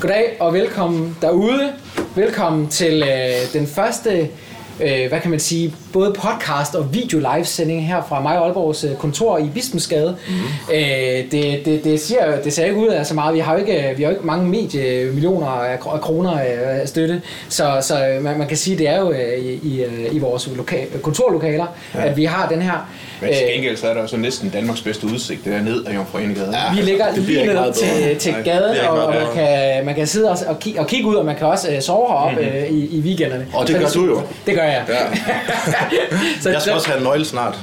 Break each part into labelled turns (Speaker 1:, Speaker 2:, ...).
Speaker 1: Goddag og velkommen derude. Velkommen til øh, den første, øh, hvad kan man sige, både podcast og video livesending her fra mig og Aalborgs øh, kontor i Bispensgade.
Speaker 2: Mhm.
Speaker 1: Mm. Øh, det, det, det, ser, jo- det ser ikke ud af så meget. Vi har jo ikke, øh, vi har jo ikke mange mediemillioner af, kro- af kroner øh, af støtte, så, så øh, man, man kan sige, det er jo øh, i, i, øh, i vores loka- kontorlokaler, ja. at vi har den her.
Speaker 2: Men til
Speaker 1: øh,
Speaker 2: gengæld så er der jo så næsten Danmarks bedste udsigt, det der ned af Jomfruenegade.
Speaker 1: Vi ligger
Speaker 2: det bliver
Speaker 1: lige
Speaker 2: ikke
Speaker 1: ned
Speaker 2: meget
Speaker 1: til,
Speaker 2: bedre.
Speaker 1: til
Speaker 2: Nej, det
Speaker 1: gaden,
Speaker 2: bliver ikke
Speaker 1: og, og
Speaker 2: meget
Speaker 1: man, kan, man kan sidde og, og, kigge, og kigge ud, og man kan også øh, sove heroppe mm-hmm. øh, i, i weekenderne.
Speaker 2: Og det
Speaker 1: Så
Speaker 2: gør du jo.
Speaker 1: Det gør jeg.
Speaker 2: Ja.
Speaker 1: så,
Speaker 3: Jeg skal også have en nøgle snart.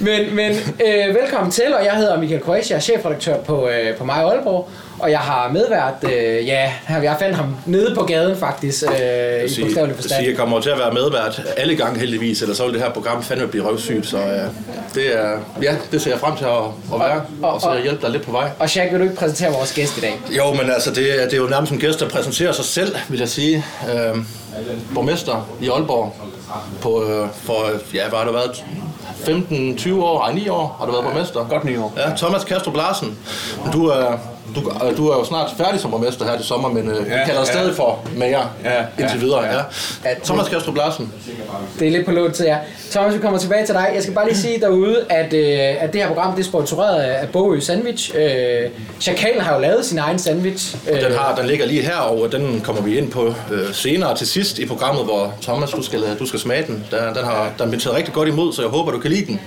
Speaker 1: Men, men øh, velkommen til, og jeg hedder Michael Koresh, jeg er chefredaktør på, øh, på mig Aalborg, og jeg har medvært, øh, ja, jeg fandt ham nede på gaden faktisk, øh, i
Speaker 3: Sige,
Speaker 1: bogstavelig
Speaker 3: sige,
Speaker 1: forstand.
Speaker 3: jeg kommer jo til at være medvært alle gange heldigvis, eller så vil det her program fandme blive røvsygt. Så øh, det, er, ja, det ser jeg frem til at, at være,
Speaker 1: og-
Speaker 3: og så
Speaker 1: og-
Speaker 3: hjælpe dig lidt på vej.
Speaker 1: Og Jack, vil du ikke præsentere vores gæst i dag?
Speaker 3: Jo, men altså, det, er- det er jo nærmest som gæst, der præsenterer sig selv, vil jeg sige. Øhm, borgmester i Aalborg på, øh, for, øh, ja, hvad har du været, 15-20 år, ej, 9 år har du været borgmester.
Speaker 2: Godt ni år.
Speaker 3: Ja, Thomas Kastrup Larsen. Du er, du, øh, du er jo snart færdig som borgmester her til sommer, men øh, vi
Speaker 2: Ja,
Speaker 3: kalder dig
Speaker 2: ja.
Speaker 3: stadig for mager
Speaker 2: Ja, ja,
Speaker 3: indtil videre.
Speaker 2: ja.
Speaker 3: Ja.
Speaker 1: Ja,
Speaker 3: Ja.
Speaker 1: det-
Speaker 3: Thomas Kastrup Larsen.
Speaker 1: Det er lidt på lån til jer. Thomas, vi kommer tilbage til dig. Jeg skal bare lige sige derude, at, øh, at det her program det er sponsoreret af af Bogø Sandwich. Øh, Chakalen har jo lavet sin egen sandwich. Øh,
Speaker 3: Den, har, den ligger lige her, og den kommer vi ind på øh, senere til sidst i programmet, hvor Thomas, du skal, du skal smage den. Den, den har den bliver taget rigtig godt imod, så jeg håber, du kan lide den.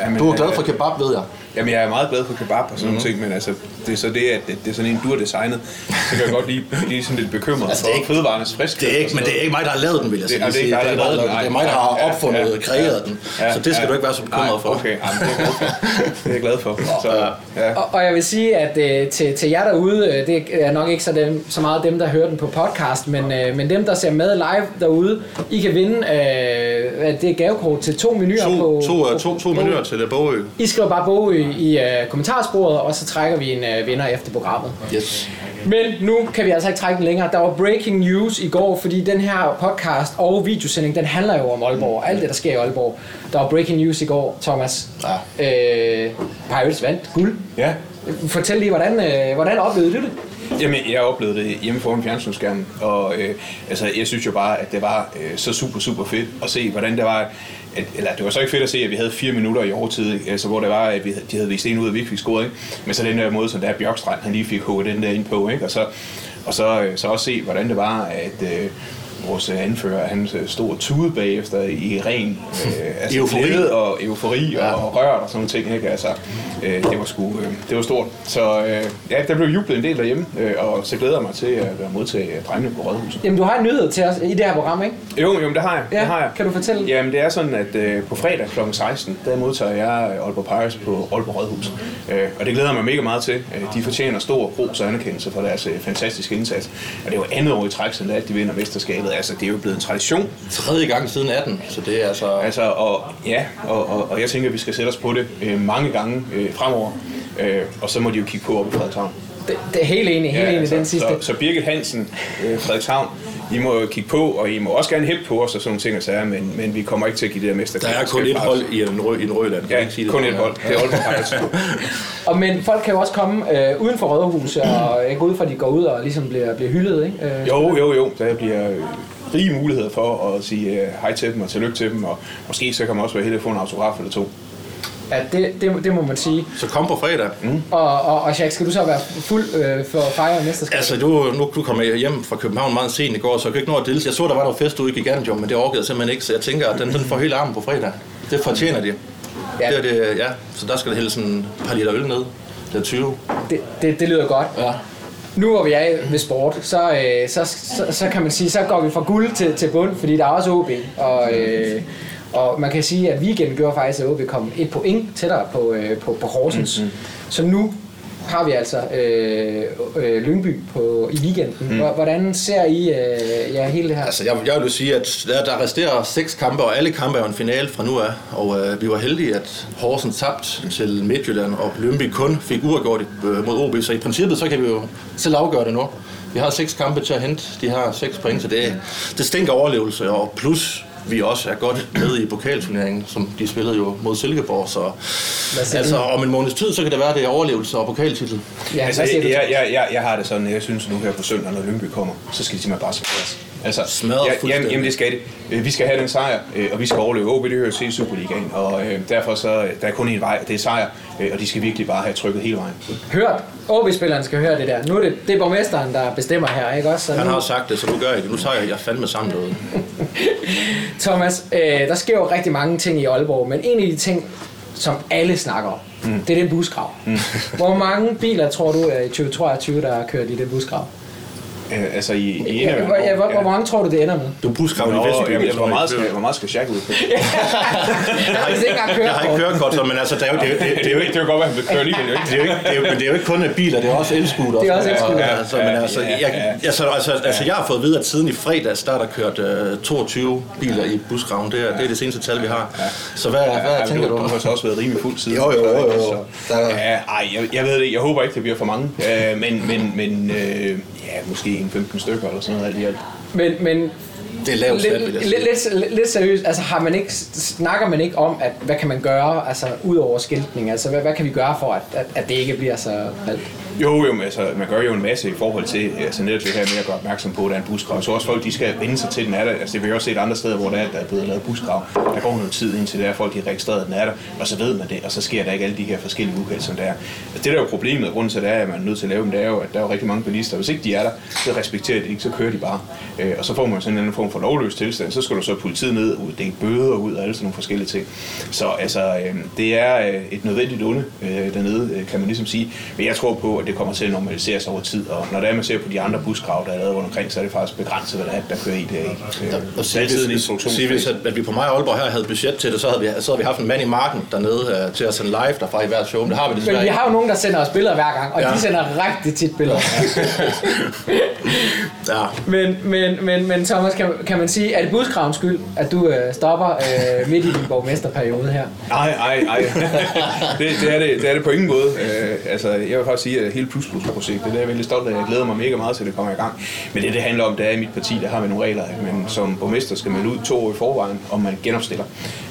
Speaker 2: Jamen,
Speaker 3: Du er glad
Speaker 2: øh,
Speaker 3: for kebab, ved jeg.
Speaker 2: Jamen, jeg er meget glad for kebab og sådan
Speaker 3: Mhm.
Speaker 2: nogle ting, men altså, det er så det, at det, det er sådan en, du har designet, så kan jeg godt lige blive sådan lidt bekymret altså,
Speaker 3: Altså, det er
Speaker 2: for
Speaker 3: ikke-
Speaker 2: fødevarernes friskhed.
Speaker 3: Det er ikke, men det er ikke mig, der har lavet den, vil jeg
Speaker 2: Det-
Speaker 3: sige.
Speaker 2: jamen, det er ikke dig, der har
Speaker 3: mig,
Speaker 2: lavet den,
Speaker 3: det er
Speaker 2: nej.
Speaker 3: mig, der har
Speaker 2: Ja, ja,
Speaker 3: opfundet
Speaker 2: ja,
Speaker 3: og kreeret den. Så det skal du ikke være så bekymret for.
Speaker 2: Okay, jamen, det er jeg glad for. Det er jeg glad for. Så, ja.
Speaker 1: Og, og jeg vil sige, at øh, til, til jer derude, øh, det er nok ikke så, dem, så meget dem, der hører den på podcast, men, øh, men dem, der ser med live derude, I kan vinde øh, hvad er det er gavekort til to menuer på...
Speaker 3: To, to, øh, to, to
Speaker 1: på-
Speaker 3: menuer til øh, Bogø.
Speaker 1: I skriver bare Bogø i øh, kommentarsporet, og så trækker vi en øh, vinder efter programmet.
Speaker 3: Yes.
Speaker 1: Men nu kan vi altså ikke trække den længere. Der var breaking news i går, fordi den her podcast og videosending, den handler jo om Aalborg og alt det, der sker i Aalborg. Der var breaking news i går, Thomas. Ja. Øh, Pirates vandt guld.
Speaker 2: ja.
Speaker 1: Fortæl lige, hvordan, øh, hvordan oplevede du det?
Speaker 2: Jamen, jeg oplevede det hjemme foran fjernsynsskærmen, og øh, altså, jeg synes jo bare, at det var øh, så super, super fedt at se, hvordan det var, at, eller det var så ikke fedt at se, at vi havde fire minutter i overtid, ikke? altså, hvor det var, at vi, havde- de havde vist en ud, og vi ikke fik scoret, ikke? men så den der måde, som der Bjørkstrand, han lige fik hugget den der ind på, ikke? og, så, og så, øh, så også se, hvordan det var, at øh, vores øh, anfører, han øh, stod og tudede bagefter i ren øh, altså,
Speaker 3: Eufori.
Speaker 2: glæde og eufori ja. og rørt og sådan nogle ting. Ikke? Altså, øh, det var sgu, øh, det var stort. Så øh, ja, der blev jublet en del derhjemme, øh, og så glæder jeg mig til at være modtage øh, drengene på rådhuset.
Speaker 1: Jamen, du har en nyhed til os i det her program, ikke?
Speaker 2: Jo, jo, men det har jeg.
Speaker 1: Ja,
Speaker 2: det har jeg.
Speaker 1: kan du fortælle?
Speaker 2: Jamen, det er sådan, at øh, på fredag kl. 16, der modtager jeg øh, Aalborg Pirates på Aalborg Rådhus. Øh, og det glæder jeg mig mega meget til. Øh, de fortjener stor ros og anerkendelse for deres øh, fantastiske indsats. Og det er jo andet år i træk, siden at de vinder mesterskabet. Altså, det er jo blevet en tradition
Speaker 3: Tredje gang siden 18, så det er altså...
Speaker 2: Altså, og, ja, og, og, og jeg tænker, at vi skal sætte os på det øh, mange gange øh, fremover. Øh, og så må de jo kigge på op i Frederikshavn.
Speaker 1: Det, det er helt enig, helt ja, enig altså, den sidste.
Speaker 2: så, så Birgit Hansen, øh, Frederikshavn, I må jo kigge på, og I må også gerne hæppe på os og sådan nogle ting og sager, men, men vi kommer ikke til at give det der mester.
Speaker 3: Der er kun et hold i en rød, i en rød land. Kan jeg
Speaker 2: Ja,
Speaker 3: ikke sige det
Speaker 2: kun
Speaker 3: sådan
Speaker 2: et
Speaker 3: her?
Speaker 2: hold. Det er Aalborg Pirates.
Speaker 1: Og men folk kan jo også komme øh, uden for Rødhuset, og øh, jeg går ud fra, at de går ud og ligesom bliver, bliver hyldet, ikke? Øh,
Speaker 2: Jo, jo, jo. Der bliver øh, rige muligheder for at sige øh, hej til dem og tillykke til dem, og måske så kan man også være heldig at få en autograf eller to.
Speaker 1: Ja, det, det, det må man sige.
Speaker 3: Så kom på fredag.
Speaker 1: Og, og, og Jack, skal du så være fuld øh, for at fejre mesterskabet?
Speaker 3: Altså, du, nu du kom jeg hjem fra København meget sent i går, så jeg kunne ikke nå at deltage. Jeg så, der var noget fest ude i Gigantium, men det orkede jeg simpelthen ikke, så jeg tænker, at den, den får hele armen på fredag. Det fortjener de.
Speaker 1: Ja.
Speaker 3: Ja. Det er det, ja. Så der skal der hælde sådan et par liter øl ned. Det er 20.
Speaker 1: Det, det, det lyder godt.
Speaker 3: Ja.
Speaker 1: Nu hvor vi er ved sport, så, øh, så, så, så kan man sige, så går vi fra guld til, til bund, fordi der er også OB. Og, øh, og man kan sige, at weekenden gjorde faktisk, at OB kom et point tættere på, øh, på, på Horsens. Mm-hmm. Så nu har vi altså øh, øh, Lyngby på, i weekenden. Mm. Hvordan ser I øh, ja, hele det her?
Speaker 3: Altså, jeg, jeg vil jo sige, at der, der resterer seks kampe, og alle kampe er jo en finale fra nu af. Og øh, vi var heldige, at Horsens tabte til Midtjylland, og Lønby kun fik uafgjort øh, mod OB. Så i princippet, så kan vi jo selv afgøre det nu. Vi har seks kampe til at hente de her seks point, så det, det stinker overlevelse, og plus vi også er godt med i pokalturneringen, som de spillede jo mod Silkeborg. Så
Speaker 1: Hvad siger
Speaker 3: altså,
Speaker 1: du? Mm.
Speaker 3: om en måneds tid, så kan det være, det er overlevelse og pokaltitel.
Speaker 1: Ja,
Speaker 2: altså,
Speaker 1: hvad siger
Speaker 2: jeg,
Speaker 1: du?
Speaker 2: jeg, jeg, jeg, jeg har det sådan, at jeg synes nu her på søndag, når Lyngby kommer, så skal de simpelthen bare smadres. Altså,
Speaker 3: Smadres
Speaker 2: ja, jamen,
Speaker 3: fuldstændig.
Speaker 2: jamen, det skal det. Øh, Vi skal have den sejr, øh, og vi skal overleve OB, det hører til i Superligaen, og øh, derfor så, øh, der er kun én vej, og det er sejr, øh, og de skal virkelig bare have trykket hele vejen.
Speaker 1: Hørt. OB-spilleren skal høre det der. Nu er det, det er borgmesteren, der bestemmer her, ikke også? Så
Speaker 3: Han
Speaker 1: nu,
Speaker 3: har sagt det, så nu gør jeg det. Nu tager jeg, jeg fandme sammen noget.
Speaker 1: Thomas, øh, der sker jo rigtig mange ting i Aalborg, men en af de ting, som alle snakker om, mm. det er den busgrav. Mm. Hvor mange biler tror du er i 2023, der har kørt i den busgrav?
Speaker 2: Øh, Altså i, i
Speaker 1: Ja, hvor, ja, hvor, hvor mange tror du, det ender med?
Speaker 3: Du busker
Speaker 2: Nå,
Speaker 3: i Vestby.
Speaker 2: jamen,
Speaker 3: jeg
Speaker 2: hvor,
Speaker 3: tror
Speaker 2: meget
Speaker 3: ikke.
Speaker 2: skal, hvor meget skal Jack ud på?
Speaker 1: Jeg har ikke engang
Speaker 3: Jeg har ikke
Speaker 1: kørt
Speaker 3: kørekort, så, men altså, det er jo, det, er jo- det, det er jo ikke
Speaker 2: det kan godt være, at han vil køre alligevel, jo ikke?
Speaker 3: det er jo ikke, det er jo, men det er jo ikke kun biler, det er også elskuter.
Speaker 1: Det er også elscootere.
Speaker 3: Ja, altså, men altså,
Speaker 2: Ja, ja,
Speaker 3: jeg,
Speaker 2: ja.
Speaker 3: altså, altså, altså, jeg har fået at vide, at siden i fredags, der er der kørt øh, 22 biler i busgraven. Det er, det er det seneste tal, vi har. Så hvad, hvad
Speaker 2: Ja,
Speaker 3: tænker
Speaker 2: du,
Speaker 3: du?
Speaker 2: du har så også været rimelig fuld siden.
Speaker 3: Jo, jo, jo, jo.
Speaker 2: Så-
Speaker 3: Der er-
Speaker 2: Ja, ej, jeg, jeg ved det ikke. Jeg håber ikke, det bliver for mange. Øh, men men, men øh, ja, måske en 15 stykker eller sådan noget alt i alt.
Speaker 1: Men, men
Speaker 3: Det er lavt sat, vil jeg
Speaker 1: lidt, lidt,
Speaker 3: sige.
Speaker 1: lidt, lidt seriøst, altså har man ikke, snakker man ikke om, at hvad kan man gøre, altså ud over skiltning, altså hvad, hvad kan vi gøre for, at, at, at det ikke bliver så alt?
Speaker 2: Jo, jo, men altså, man gør jo en masse i forhold til altså, netop det her med at gøre opmærksom på, at der er en busgrav. Jeg tror også, folk de skal vende sig til, at den er der. Altså, det vil jeg også se et andre steder, hvor der er, der er blevet lavet busgrav. Der går noget tid indtil der folk de har registreret, at den er der, og så ved man det, og så sker der ikke alle de her forskellige uheld, som der er. Altså, det der er jo problemet, og grunden til, at, det er, at man er nødt til at lave dem, det er jo, at der er jo rigtig mange bilister. Hvis ikke de er der, så respekterer de ikke, så kører de bare. Øh, og så får man sådan en eller anden form for lovløs tilstand. Så skal du så politiet ned, ud, dele bøder ud og alle sådan nogle forskellige ting. Så altså, øh, det er øh, et nødvendigt onde øh, dernede, øh, kan man ligesom sige. Men jeg tror på, at det kommer til at normalisere sig over tid. Og når det er, man ser på de andre buskrav, der er lavet rundt omkring, så er det faktisk begrænset, hvad der er, der kører i det. Ikke? Øh,
Speaker 3: Og
Speaker 2: der er altid en
Speaker 3: sige, hvis,
Speaker 2: instruktion.
Speaker 3: sige, hvis at, at vi på mig og Aalborg her havde budget til det, så havde vi, så havde vi haft en mand i marken dernede øh, til at sende live derfra i hver show. Men det har vi desværre
Speaker 1: Men vi
Speaker 3: ikke.
Speaker 1: har jo nogen, der sender os billeder hver gang, og ja.
Speaker 3: Ja.
Speaker 1: de sender rigtig tit billeder.
Speaker 3: Ja.
Speaker 1: men, men, men, men Thomas, kan, kan man sige, er det buskravens skyld, at du øh, stopper øh, midt i din borgmesterperiode her?
Speaker 2: Nej, nej, nej. det, det, er det, det er det på ingen måde. Øh, altså, jeg vil faktisk sige, at hele Plus Plus projektet, det er jeg veldig stolt af. Jeg glæder mig mega meget til, at det kommer i gang. Men det, det handler om, det er i mit parti, der har vi nogle regler, at man som borgmester skal melde ud to år i forvejen, om man genopstiller.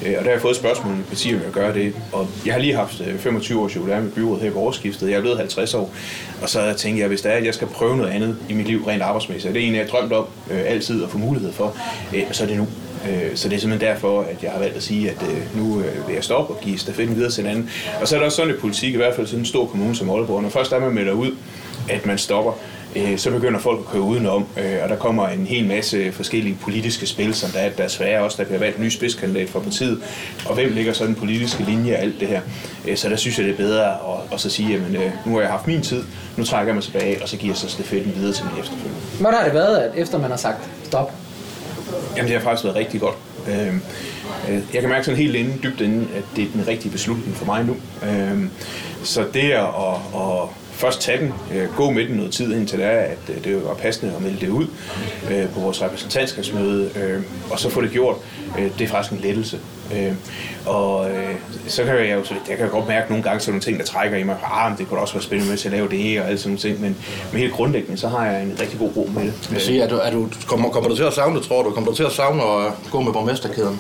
Speaker 2: Øh, og der har jeg fået et spørgsmål i mit parti, om jeg gør det. Og jeg har lige haft øh, 25 års jubilæum i byrådet her i årsskiftet. Jeg er blevet 50 år. Og så tænkte jeg, hvis det er, at jeg skal prøve noget andet i mit liv rent arbejdsmæssigt, og det er en, jeg har drømt om øh, altid at få mulighed for, øh, så er det nu. Øh, Så det er simpelthen derfor, at jeg har valgt at sige, at øh, nu øh, vil jeg stoppe og give stafetten videre til en anden. Og så er der også sådan i politik, i hvert fald sådan en stor kommune som Aalborg, når først er man melder ud, at man stopper, øh, så begynder folk at køre udenom, øh, og der kommer en hel masse forskellige politiske spil, som der er, der er svære også, der bliver valgt en ny spidskandidat fra partiet, og hvem ligger så den politiske linje af alt det her. Øh, Så der synes jeg, det er bedre at, at så sige, jamen øh, nu har jeg haft min tid, nu trækker jeg mig tilbage, og så giver jeg så stafetten videre til min efterfølger.
Speaker 1: Hvordan har det været, at efter man har sagt stop?
Speaker 2: Jamen, det har faktisk været rigtig godt. Øh, øh, jeg kan mærke sådan helt inde, dybt inde, at det er den rigtige beslutning for mig nu. Øh, så det at, at, at først tage den, øh, gå med den noget tid indtil det er, at øh, det var passende at melde det ud øh, på vores repræsentantskabsmøde, øh, og så få det gjort, øh, det er faktisk en lettelse. Øh, og øh, så kan jeg jo så, jeg kan jo godt mærke nogle gange sådan nogle ting, der trækker i mig. Ah, men det kunne da også være spændende med til at lave det og alle sådan nogle ting. Men, men helt grundlæggende, så har jeg en rigtig god ro med det.
Speaker 3: Jeg vil sige, er du, er du, kommer, kommer du til at savne det, tror du? Kommer du til at savne at gå med borgmesterkæden?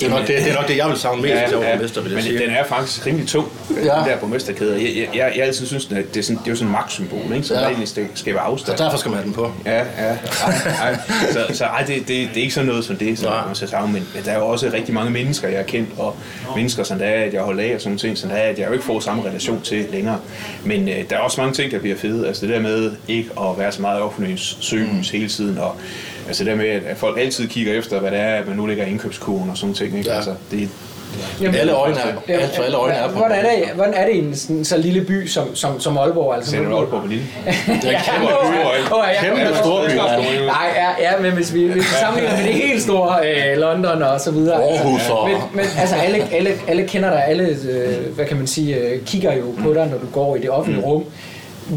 Speaker 3: Det er nok det, det, er nok det jeg vil savne mest, hvis jeg var borgmester, vil jeg
Speaker 2: men
Speaker 3: sige.
Speaker 2: den er faktisk rimelig tung, ja. den
Speaker 3: Ja.
Speaker 2: der borgmesterkæde. Jeg, jeg, jeg, jeg altid synes, at det er, sådan, det er jo sådan en magtsymbol, ikke? så
Speaker 3: Ja.
Speaker 2: ja. der egentlig skal- skaber
Speaker 3: Så
Speaker 2: afstand.
Speaker 3: derfor skal man have den på.
Speaker 2: Ja, ja. Ej, ej. Så, så ej, det, det, det er ikke sådan noget som det, som
Speaker 3: Nej.
Speaker 2: man skal savne, men, men der er jo også rigtig mange mennesker, jeg har kendt, og mennesker, som der er, at jeg holder af, og sådan nogle ting, som der er, at jeg jo ikke får samme relation til længere. Men øh, der er også mange ting, der bliver fede. Altså det der med ikke at være så meget offentlig søgelys hele tiden, og altså det der med, at- at folk altid kigger efter, hvad det er, at man nu ligger i indkøbskurven og sådan nogle ting. Ikke?
Speaker 3: Ja.
Speaker 2: Altså, det,
Speaker 1: Jamen,
Speaker 3: Alle øjne er,
Speaker 1: Jamen,
Speaker 3: altså, alle øjne er på.
Speaker 1: hvordan, er det, hvordan er det i en sådan, så lille by som, som, som Aalborg? Altså,
Speaker 2: Sætter du
Speaker 1: nu-
Speaker 2: op på Berlin?
Speaker 3: Det er en kæmpe
Speaker 1: Åh,
Speaker 3: by.
Speaker 1: ja. Åh, ja, jeg
Speaker 3: Kæmpe
Speaker 1: kommer-
Speaker 3: storby,
Speaker 2: mand.
Speaker 1: Nej, ja, ja, men hvis vi, hvis vi sammenligner med det helt store øh, London og så videre.
Speaker 3: Aarhus og...
Speaker 1: Men, men altså, alle, alle,
Speaker 2: Mm.
Speaker 1: alle kender dig, alle, øh, hvad kan man sige, øh, kigger jo på dig, når du går i det offentlige rum.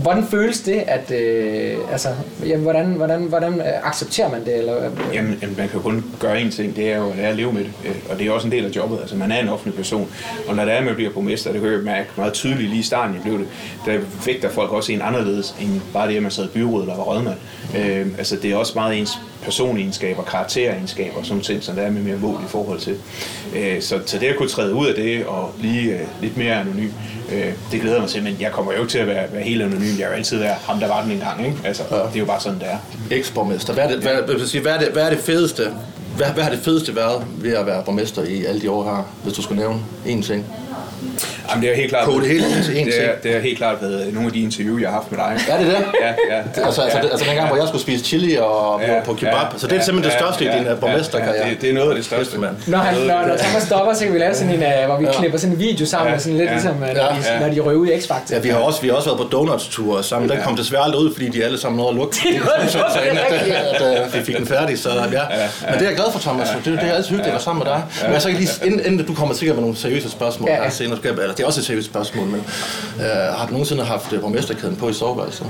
Speaker 1: Hvordan føles det, at, øh, altså, jamen, hvordan, hvordan, hvordan øh, accepterer man det? Eller, øh,
Speaker 2: Jamen, jamen, man kan jo kun gøre én ting, det er jo at lære at leve med det. Øh, Og det er også en del af jobbet. Altså, man er en offentlig person. Og når det er, man bliver borgmester, det kan jeg jo mærke meget tydeligt lige i starten, jeg blev det, der vægter folk også en anderledes, end bare det, at man sad i byrådet eller var rådmand. Øh, altså, det er også meget ens personegenskaber, karakteregenskaber, og sådan ting, som der er med mere mål i forhold til. Øh, så, så det at kunne træde ud af det og blive øh, lidt mere anonym, øh, det glæder mig til, men jeg kommer jo ikke til at være, være helt anonym. Jeg vil altid være ham, der var den engang. Ikke? Altså, ja. Det er jo bare sådan, det er.
Speaker 3: Eksborgmester. Hvad er det, hvad, hvad, vil sige, hvad, er det, hvad er det fedeste? Hvad, hvad har det fedeste været ved at være borgmester i alle de år her, hvis du skulle nævne én ting?
Speaker 2: Jamen, det er helt klart.
Speaker 3: Koge det hele ned til én
Speaker 2: det er,
Speaker 3: ting.
Speaker 2: det er helt klart været nogle af de interview, jeg har haft med dig.
Speaker 3: Er det det?
Speaker 2: Ja, ja.
Speaker 3: Det- Altså, altså, altså dengang, hvor jeg skulle spise chili og ja, på kebab. så det er simpelthen det største i din øh, borgmesterkarriere.
Speaker 2: det, det er noget af det største,
Speaker 3: Kæft, mand.
Speaker 1: når, han,
Speaker 2: Noget af
Speaker 1: når,
Speaker 2: det-
Speaker 1: når Thomas stopper, så kan vi lave sådan en, øh, hvor vi klipper sådan en video sammen,
Speaker 2: Ja,
Speaker 1: ja, sådan lidt
Speaker 2: ja,
Speaker 1: ligesom, øh, når,
Speaker 3: ja,
Speaker 1: de,
Speaker 2: ja.
Speaker 1: når de røver ud i X-Factor.
Speaker 3: Ja, vi har også, vi har også været på donuts-ture sammen. Den
Speaker 2: Ja.
Speaker 3: kom desværre aldrig ud, fordi de alle sammen nåede at lukke.
Speaker 1: Det var det,
Speaker 3: så inden at,
Speaker 1: rigtigt.
Speaker 3: at, at vi fik den færdig. Så, ja. Men det er jeg glad for, Thomas. Det, det er altid hyggeligt at være sammen med dig. Men jeg så kan lige, inden, inden du kommer sikkert med nogle seriøse spørgsmål.
Speaker 1: Ja,
Speaker 3: Ja,
Speaker 1: ja.
Speaker 3: ja. Senere, skal jeg- eller, det er også et seriøst spørgsmål, men øh, har du nogensinde haft øh, borgmesterkæden på i soveværelset?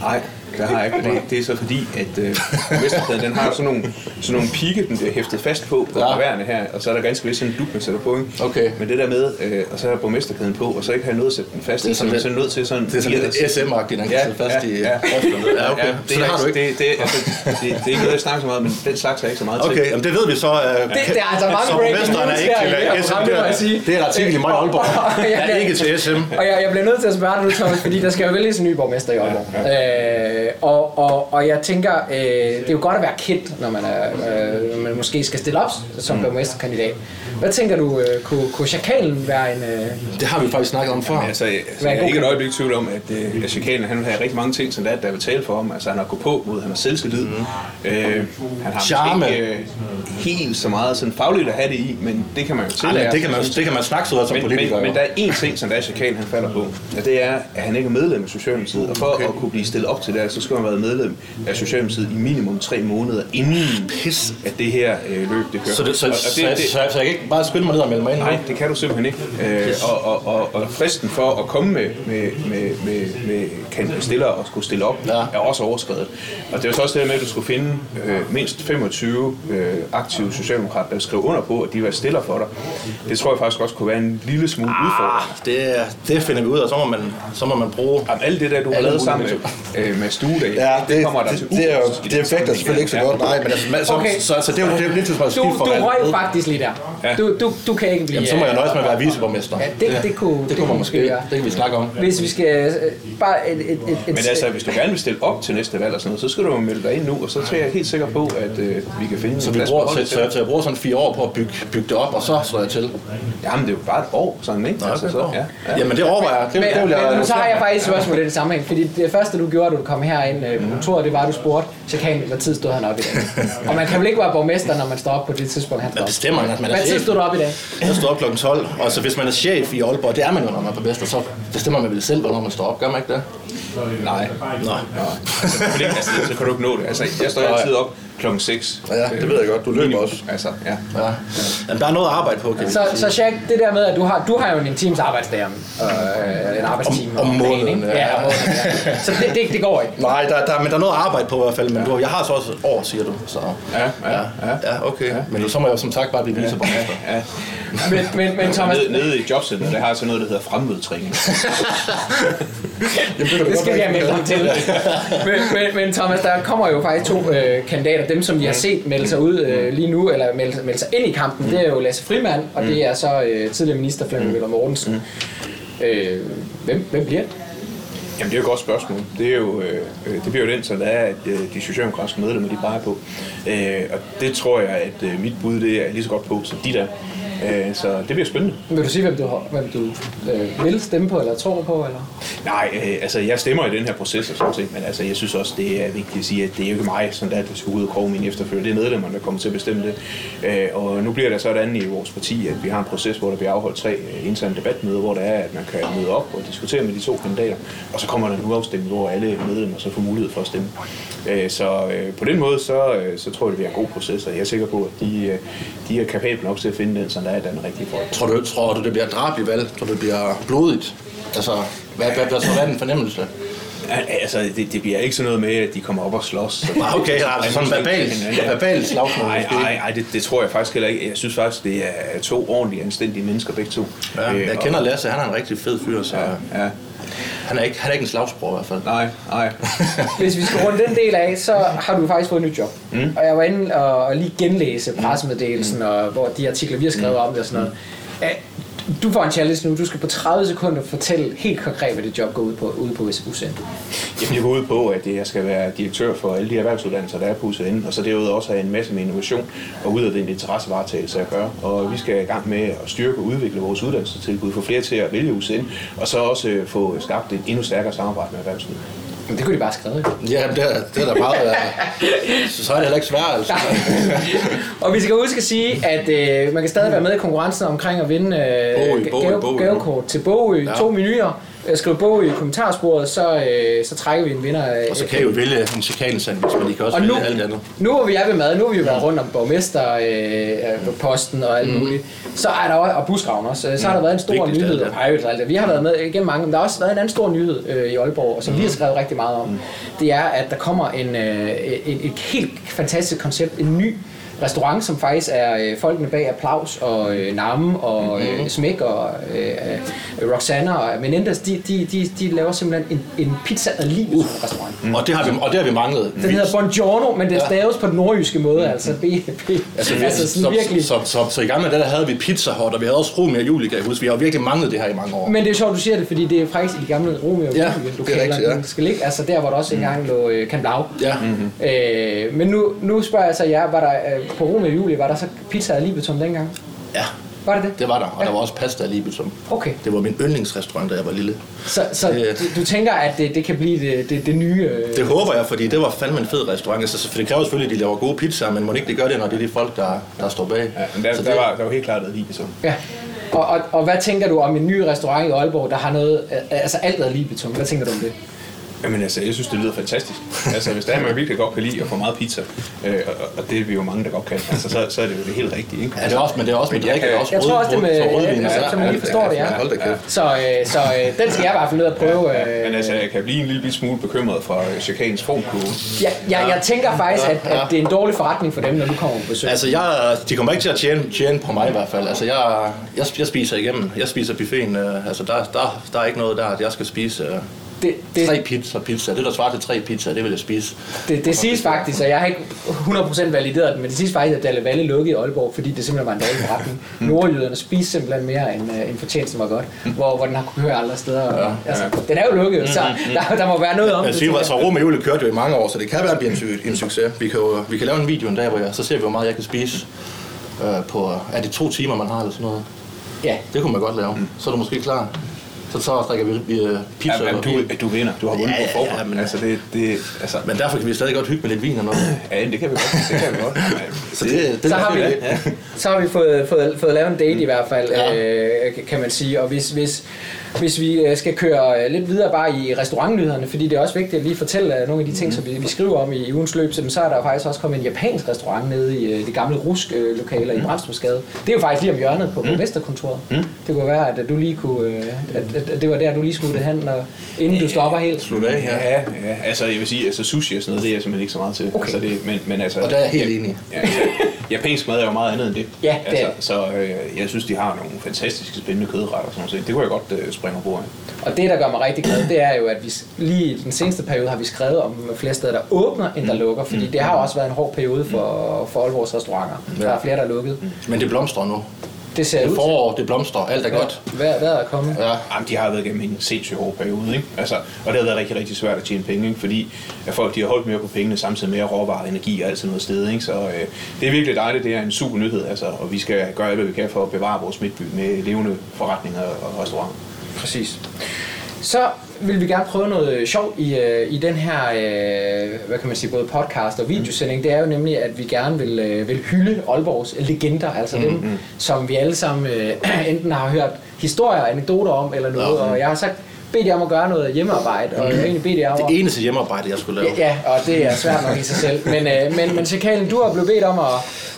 Speaker 2: Nej, det har jeg ikke. Det, det er så fordi, at øh, Vesterpladen, den har sådan nogle, sådan nogle pigge, den bliver hæftet fast på på
Speaker 3: Ja.
Speaker 2: ja. her, og så er der ganske vist sådan en dub, man sætter på, ikke?
Speaker 3: Okay.
Speaker 2: Men det der med, øh, og så har borgmesterkæden på, og så ikke har jeg noget at sætte den fast,
Speaker 3: Det
Speaker 2: det
Speaker 3: er
Speaker 2: er så
Speaker 3: sådan
Speaker 2: er man
Speaker 3: lidt-
Speaker 2: sådan nødt til sådan...
Speaker 3: Det er sådan lidt
Speaker 2: lige at-
Speaker 3: SM-agtigt, han kan sidde fast i ja. ja, okay.
Speaker 2: det,
Speaker 3: så det har du ikke.
Speaker 2: Det, det, altså, det, det, er ikke noget, jeg snakker så meget om, men den slags er jeg ikke så meget til.
Speaker 3: Okay, jamen det ved vi så. Øh,
Speaker 1: Det, det er altså mange
Speaker 3: så
Speaker 1: breaking
Speaker 3: borgmesteren er
Speaker 1: news
Speaker 3: ikke
Speaker 1: her i det her
Speaker 3: til
Speaker 1: program,
Speaker 3: SM.
Speaker 1: må jeg sige.
Speaker 3: Det er et artikel i Møj Aalborg.
Speaker 1: Jeg
Speaker 3: Jeg er
Speaker 1: kan-
Speaker 3: ikke til SM.
Speaker 1: Og jeg, jeg bliver nødt til at spørge dig nu, Thomas, fordi der skal jo vælges en ny borgmester i Aalborg. Ja, ja. Øh, og, og, og jeg tænker, øh, det er jo godt at være kendt, når man, er, øh, når man måske skal stille op som mm. borgmesterkandidat. Hvad tænker du, øh, kunne, kunne Chakalen være en... Øh,
Speaker 3: Det har vi faktisk snakket om før.
Speaker 2: Altså, altså,
Speaker 1: Hvad er
Speaker 2: jeg er
Speaker 1: god
Speaker 2: ikke et
Speaker 1: kamp?
Speaker 2: øjeblik i tvivl om, at, øh, at Chakanen, han har rigtig mange ting, som der, er, der vil tale for ham. Altså, han har gå på mod, han har selvtillid. Mm. Øh, han har
Speaker 3: Mhm. Charme.
Speaker 2: måske ikke øh, helt så meget sådan fagligt at have det i, men det kan man jo
Speaker 3: Ej,
Speaker 2: tillære.
Speaker 3: Ah, men det kan man, det kan man snakke sig ud af som
Speaker 2: men,
Speaker 3: politiker.
Speaker 2: men, men
Speaker 3: jo.
Speaker 2: der er én ting, som der er Chakanen, han falder på, og det er, at han ikke er medlem af Socialdemokratiet. Og for okay. at kunne blive stillet op til det, her, så skulle han have været medlem af Socialdemokratiet i minimum tre måneder, inden Pis. at det her øh, løb, det kører.
Speaker 3: Så, det, så,
Speaker 2: Og- og
Speaker 3: så, jeg- så, jeg- så, jeg kan ikke bare skynde mig ned og melde mig ind?
Speaker 2: Nej, det kan du simpelthen ikke. Øh, og, og, og, og fristen for at komme med, med, med, med, med kandidatstillere og skulle stille op,
Speaker 3: Ja.
Speaker 2: ja. er også overskrevet. Og det er så også det der med, at du skulle finde øh, mindst 25 øh, aktive socialdemokrater, der skriver under på, at de var stiller for dig. Det tror jeg faktisk også kunne være en lille smule ah. udfordring.
Speaker 3: Ah, det, er- det finder vi ud af, så må man, så må man bruge...
Speaker 2: Jamen, alt det der, du har
Speaker 3: Alle
Speaker 2: lavet sammen
Speaker 3: mulige
Speaker 2: med, øh, med Stuedag,
Speaker 3: Nej, men altså, man- så,
Speaker 1: Okay.
Speaker 3: så, så, så det er jo det er jo lidt for
Speaker 1: du,
Speaker 3: skidt for
Speaker 1: du
Speaker 3: alt.
Speaker 1: røg faktisk lige der. Ja. Du, du, du kan ikke blive... øh,
Speaker 3: Jamen, så må jeg nøjes med at være viceborgmester.
Speaker 1: Ja, det, det, kunne,
Speaker 3: Det kunne man måske,
Speaker 1: gøre.
Speaker 3: det kan vi snakke om.
Speaker 1: Hvis vi skal... Øh, bare et, et, et, et,
Speaker 2: Men altså, hvis du gerne vil stille op til næste valg og sådan noget, så skal du jo melde dig ind nu, og så er jeg helt sikker på, at øh, vi kan finde
Speaker 3: Så,
Speaker 2: en
Speaker 3: vi
Speaker 2: plads på
Speaker 3: bruger,
Speaker 2: holdet
Speaker 3: så,
Speaker 2: til
Speaker 3: så, jeg, så jeg bruger sådan fire år på at bygge, bygge det op, og så slår jeg til.
Speaker 2: Jamen, det er jo bare et år, sådan, ikke? Altså, så, ja, ja.
Speaker 3: Jamen, det overvejer jeg. Det, det
Speaker 1: Men,
Speaker 3: vil
Speaker 1: men
Speaker 3: jeg...
Speaker 1: nu så har jeg faktisk et spørgsmål i den sammenhæng, fordi det første du gjorde, da du kom herind øh,
Speaker 3: Mm.
Speaker 1: på kontoret, det var, at du spurgte chakanen, hvad tid stod han op i dag. og man kan vel ikke være borgmester, når man står op på det tidspunkt, han står
Speaker 3: Man
Speaker 1: op.
Speaker 3: bestemmer, at man er
Speaker 1: Hvad tid
Speaker 3: chef.
Speaker 1: stod du op i dag?
Speaker 3: Jeg står op kl. 12, og så hvis man er chef i Aalborg, det er man jo, når man er på bedst, så bestemmer man vel selv, hvornår man står op. Gør man ikke det?
Speaker 2: Nej.
Speaker 3: Nej.
Speaker 2: Fordi, altså, så kan du ikke nå det. Altså, jeg står altid op klokken 6.
Speaker 3: Ja, det ved jeg godt. Du løber også.
Speaker 2: Altså, ja.
Speaker 3: Ja. Jamen, der er noget at arbejde på, kan vi
Speaker 1: Så,
Speaker 3: sige.
Speaker 1: så Shaq, det der med, at du har, du har jo en times arbejdsdag om, øh, en arbejdstime
Speaker 3: Om- om
Speaker 1: dagen,
Speaker 3: måneden,
Speaker 1: ikke?
Speaker 3: ja.
Speaker 1: ja. om måneden, ja. Så det, det, det går ikke.
Speaker 3: Nej, der, der, men der er noget at arbejde på i hvert fald, men du, jeg har så også et år, siger du. Så.
Speaker 2: Ja, ja, ja.
Speaker 3: ja, okay. Ja. Men så må jeg jo som sagt bare blive viceborgmester.
Speaker 2: Ja.
Speaker 1: Men, men, men Thomas,
Speaker 2: Nede, nede i jobcenteret, der har jeg sådan noget, der hedder fremmødetræning.
Speaker 1: Det skal vi have meldt ham til. men, men, men Thomas, der kommer jo faktisk to øh, kandidater. Dem, som vi har set melde sig ud øh, lige nu, eller melde, melde sig ind i kampen, det er jo Lasse Frimand, og det er så øh, tidligere minister Flemming Møller Mortensen. Øh, hvem, hvem bliver det?
Speaker 2: Jamen, det er jo et godt spørgsmål. Det, er jo, øh, øh, det bliver jo den, som der er, at øh, de socialdemokratiske medlemmer, de peger på. Øh, og det tror jeg, at øh, mit bud, det er lige så godt på, som de der. Øh, så det bliver spændende.
Speaker 1: Vil du sige, hvem du, har- hvem du øh, vil stemme på, eller tror på? Eller?
Speaker 2: Nej, øh, altså jeg stemmer i den her proces og sådan ting, men altså jeg synes også, det er vigtigt at sige, at det er jo ikke mig, som der, der skal ud og kroge min efterfølger. Det er medlemmerne, der kommer til at bestemme det. Øh, og nu bliver det sådan i vores parti, at vi har en proces, hvor der bliver afholdt tre øh, interne debatmøder, hvor der er, at man kan møde op og diskutere med de to kandidater. Og så kommer der en uafstemning, hvor alle medlemmer så får mulighed for at stemme. Øh, så øh, på den måde, så, øh, så tror jeg, det bliver en god proces, og jeg er sikker på, at de, øh, de er kapable nok til at finde den, som der er, der er den rigtige folk.
Speaker 3: Tror du, tror du, det bliver et drabelig valg? Tror du, det bliver blodigt? Altså, Hvad, hvad, hvad, så, hvad er den fornemmelse?
Speaker 2: Altså, det, det bliver ikke sådan noget med, at de kommer op og slås.
Speaker 3: Ah, okay, så altså sådan verbal, verbal slagsmål.
Speaker 2: Nej,
Speaker 3: måske.
Speaker 2: nej, nej, det, det tror jeg faktisk heller ikke. Jeg synes faktisk, det er to ordentlige, anstændige mennesker begge to.
Speaker 3: Ja,
Speaker 2: Øh,
Speaker 3: jeg
Speaker 2: og-
Speaker 3: kender Lasse, han er en rigtig fed fyr, så
Speaker 2: Ja, ja.
Speaker 3: han er ikke, han er ikke en slagsbror i hvert fald.
Speaker 2: Nej, nej.
Speaker 1: Hvis vi skal runde den del af, så har du faktisk fået et nyt job. Mm. Og jeg var inde og, og lige genlæse pressemeddelelsen, og hvor de artikler, vi har skrevet om det og sådan noget. Ja, Du får en challenge nu. Du skal på 30 sekunder fortælle helt konkret, hvad dit job går ud på ude på VCU Center.
Speaker 2: Jamen, jeg går ud på, at jeg skal være direktør for alle de erhvervsuddannelser, der er på UCN, og så derudover også have en masse med innovation og ud af den interessevaretagelse at gøre. Og vi skal i gang med at styrke og udvikle vores uddannelsestilbud, få flere til at vælge UCN, og så også øh, få skabt et endnu stærkere samarbejde med erhvervslivet.
Speaker 1: Men det kunne de bare have skrevet. jo.
Speaker 3: Ja, det er, det er da meget... øh, så så er det heller ikke svært, altså.
Speaker 1: Og vi skal huske at sige, at øh, man kan stadig være med i konkurrencen omkring at vinde øh,
Speaker 3: Bogø, Bogø,
Speaker 1: gave,
Speaker 3: Bogø.
Speaker 1: gavekort til Bogø. Ja.
Speaker 3: Ja.
Speaker 1: To menuer. Øh, Skriv Bogø i kommentarsporet, så, øh, så trækker vi en vinder. øh, af-
Speaker 3: Og så kan I jo vælge en chikanesandwich, men I kan også
Speaker 1: Og nu,
Speaker 3: vælge alt andet.
Speaker 1: nu hvor vi er ved mad, nu har vi jo været rundt om borgmesterposten øh, posten og alt muligt, så er der også, og busgraven også, øh, så har der været en stor
Speaker 3: Vigtigst Mm. af
Speaker 1: nyhed,
Speaker 3: alt,
Speaker 1: og Pirates og alt det. Vi har været med igennem mange, men der har også været en anden stor nyhed øh, i Aalborg, som vi
Speaker 3: Mm.
Speaker 1: har skrevet rigtig meget om. Det er, at der kommer en, øh, en, et helt fantastisk koncept, en ny restaurant, som faktisk er øh, folkene bag Applaus og øh, Namme og
Speaker 3: Mm-hmm.
Speaker 1: øh, Smæk og øh, øh, Roxanna og Menendez, de, de, de, de laver simpelthen en, en pizza ad livet uh. restaurant.
Speaker 3: Og det har vi, og det har vi manglet.
Speaker 1: Den hedder Bongiorno, men det staves på den nordjyske måde, altså B&B. Altså,
Speaker 3: Mm. vi-
Speaker 1: altså sådan
Speaker 3: så,
Speaker 1: virkelig.
Speaker 3: Så, så, så, så, i gamle dage der havde vi pizza hot, og vi havde også Romeo og Julie, kan jeg huske. Vi har jo virkelig manglet det her i mange år.
Speaker 1: Men det er sjovt, du siger det, fordi det er faktisk i de gamle Romeo og
Speaker 3: Ja,
Speaker 1: Julie
Speaker 3: det er
Speaker 1: lokaler,
Speaker 3: rigtigt, ja. Mm.
Speaker 1: den skal ligge, altså der, hvor der også engang lå øh, Camp Lau.
Speaker 3: Ja, mm-hmm.
Speaker 1: Øh, men nu, nu spørger jeg så jer, var der, øh, på Romeo og Julie, var der så pizza af libetum dengang?
Speaker 3: ja,
Speaker 1: Var det det?
Speaker 3: det var der. Og der var også pasta lige som.
Speaker 1: Okay,
Speaker 3: Det var min yndlingsrestaurant, da jeg var lille.
Speaker 1: så, så
Speaker 3: Det-
Speaker 1: du- du tænker, at det, det kan blive det, det, det nye... Øh,
Speaker 3: Det håber jeg, fordi det var fandme en fed restaurant. Altså, så- for det kræver selvfølgelig, at de laver gode pizzaer, men må ikke de gør det, når det er de folk, der, der står bag.
Speaker 2: Ja, men der,
Speaker 3: så
Speaker 2: der,
Speaker 3: det,
Speaker 2: var, der var helt klart et lige så.
Speaker 1: Ja. Og, og, og hvad tænker du om en ny restaurant i Aalborg, der har noget, øh, altså alt ad libetum? Hvad tænker du om det?
Speaker 2: Jamen altså, jeg synes, det lyder fantastisk. Altså, hvis der er, man virkelig godt kan lide at få meget pizza, øh, og, og det er vi jo mange, der godt kan, altså, så, så er det jo det helt rigtige, ikke?
Speaker 3: Ja, det er også, men det er også med
Speaker 2: jeg
Speaker 3: drikke,
Speaker 2: kan-
Speaker 3: det er også
Speaker 1: Jeg tror også, det med-
Speaker 3: rød- rødvin,
Speaker 1: ja,
Speaker 3: altså.
Speaker 1: som man lige forstår det, ja.
Speaker 3: Hold da kæft.
Speaker 1: Så, øh, så øh, den skal jeg i hvert fald ned og prøve. Øh.
Speaker 2: Men altså, jeg kan blive en lille bitte smule bekymret for øh, chikanens formkurve.
Speaker 1: Jeg, jeg, jeg tænker faktisk, at, at det er en dårlig forretning for dem, når du kommer på besøg.
Speaker 3: Altså, jeg, de kommer ikke til at tjene, tjene på mig i hvert fald. Altså, jeg, jeg, jeg spiser igennem. Jeg spiser buffeten. Øh, altså, der, der, der er ikke noget der, at jeg skal spise øh,
Speaker 1: Det,
Speaker 3: tre
Speaker 1: det,
Speaker 3: pizza, pizza. Det, der svarer til tre pizza, det vil jeg spise.
Speaker 1: det, det siges faktisk, og jeg har ikke 100% valideret det, men det siges faktisk, at Dalle Valle lukkede i Aalborg, fordi det simpelthen var en dårlig forretning.
Speaker 3: Mm.
Speaker 1: Nordjyderne spiste simpelthen mere, end, øh, end fortjenesten var godt, hvor, hvor den har kunnet høre andre steder. Og, altså, den er jo lukket, så der, der må være noget om
Speaker 3: Mm, Jeg
Speaker 1: det.
Speaker 3: siger,
Speaker 1: tænker
Speaker 3: altså, Rom og Julie kørte jo i mange år, så det kan være, at det bliver en, su- en succes. Vi kan, jo, vi kan lave en video en dag, hvor jeg, så ser vi, hvor meget jeg kan spise. Øh, på, er det to timer, man har eller sådan noget?
Speaker 1: jeg. Ja,
Speaker 3: Det kunne man godt lave. Så er du måske klar. Så så drikker vi, vi øh, pizza.
Speaker 2: Jamen, jamen,
Speaker 3: og
Speaker 2: du,
Speaker 3: vin.
Speaker 2: du vinder. Du har vundet
Speaker 3: Ja,
Speaker 2: ja, på forhånd.
Speaker 3: ja,
Speaker 2: Ja,
Speaker 3: men-
Speaker 2: men altså, det, det, altså,
Speaker 3: Men derfor kan vi stadig godt hygge med lidt vin og noget.
Speaker 2: ja, jamen, det kan vi godt. Det kan vi godt.
Speaker 3: Så det, det
Speaker 1: så har vi, så har vi fået, fået, fået lavet en date i hvert fald,
Speaker 3: Ja.
Speaker 1: Mm. ja. øh, kan man sige. Og hvis, hvis, hvis vi øh, skal køre øh, lidt videre bare i restaurantnyhederne, fordi det er også vigtigt at lige fortælle øh, nogle af de ting, som vi, vi skriver om i ugens løb, så, så er der faktisk også kommet en japansk restaurant nede i øh, de gamle rusk-lokaler i Bramstrupsgade. Det er jo faktisk lige om hjørnet på borgmesterkontoret. Mm. Det kunne være, at øh, du lige kunne, øh, at, at, at det var der, du lige smuttede hen, når, inden du stopper helt.
Speaker 3: Slut af, ja.
Speaker 2: Ja, ja, altså jeg vil sige, altså sushi og sådan noget, det er jeg simpelthen ikke så meget til.
Speaker 1: Okay.
Speaker 2: Altså, det, men, men altså,
Speaker 3: Og der er jeg helt enig.
Speaker 2: Ja, ja. Japansk mad er jo meget andet end det.
Speaker 1: Ja, det er det.
Speaker 2: altså, Så øh, jeg synes, de har nogle fantastiske spændende kødretter og sådan noget. Det kunne jeg godt øh, springe over af.
Speaker 1: Og det, der gør mig rigtig glad, det er jo, at vi s- lige i den seneste periode har vi skrevet om flere steder, der åbner, end der
Speaker 3: Mm.
Speaker 1: lukker. Fordi det har jo også været en hård periode for, for Aalborgs restauranter. Der er flere, der er lukket.
Speaker 3: Men det blomstrer nu.
Speaker 1: Det ser
Speaker 3: Mm. Det er
Speaker 1: ud
Speaker 3: forår, det blomstrer, alt er godt.
Speaker 1: til. Hvad, hvad er der kommet?
Speaker 3: Ja.
Speaker 2: Jamen, de har været igennem en sindssygt hård periode, ikke? Altså, og det har været rigtig, rigtig svært at tjene penge, ikke? fordi at folk de har holdt mere på pengene, samtidig med at råvarer, energi og alt sådan noget sted. Ikke? Så øh, det er virkelig dejligt, det er en super nyhed, altså, og vi skal gøre alt, hvad vi kan for at bevare vores midtby med levende forretninger og restauranter.
Speaker 1: Præcis. Så vil vi gerne prøve noget sjovt i, øh, i den her, øh, hvad kan man sige, både podcast og videosending. Det er jo nemlig, at vi gerne vil, øh, vil hylde Aalborgs legender, altså
Speaker 3: Mm-hmm.
Speaker 1: dem, som vi alle sammen øh, enten har hørt historier og anekdoter om eller noget. Og jeg har sagt bedt jer om at gøre noget hjemmearbejde, og jeg har egentlig bedt jer om at...
Speaker 3: Det eneste hjemmearbejde, jeg skulle lave.
Speaker 1: Ja, og det er svært nok i sig selv. Men, øh, men, men Chakalen, du har blevet bedt om at,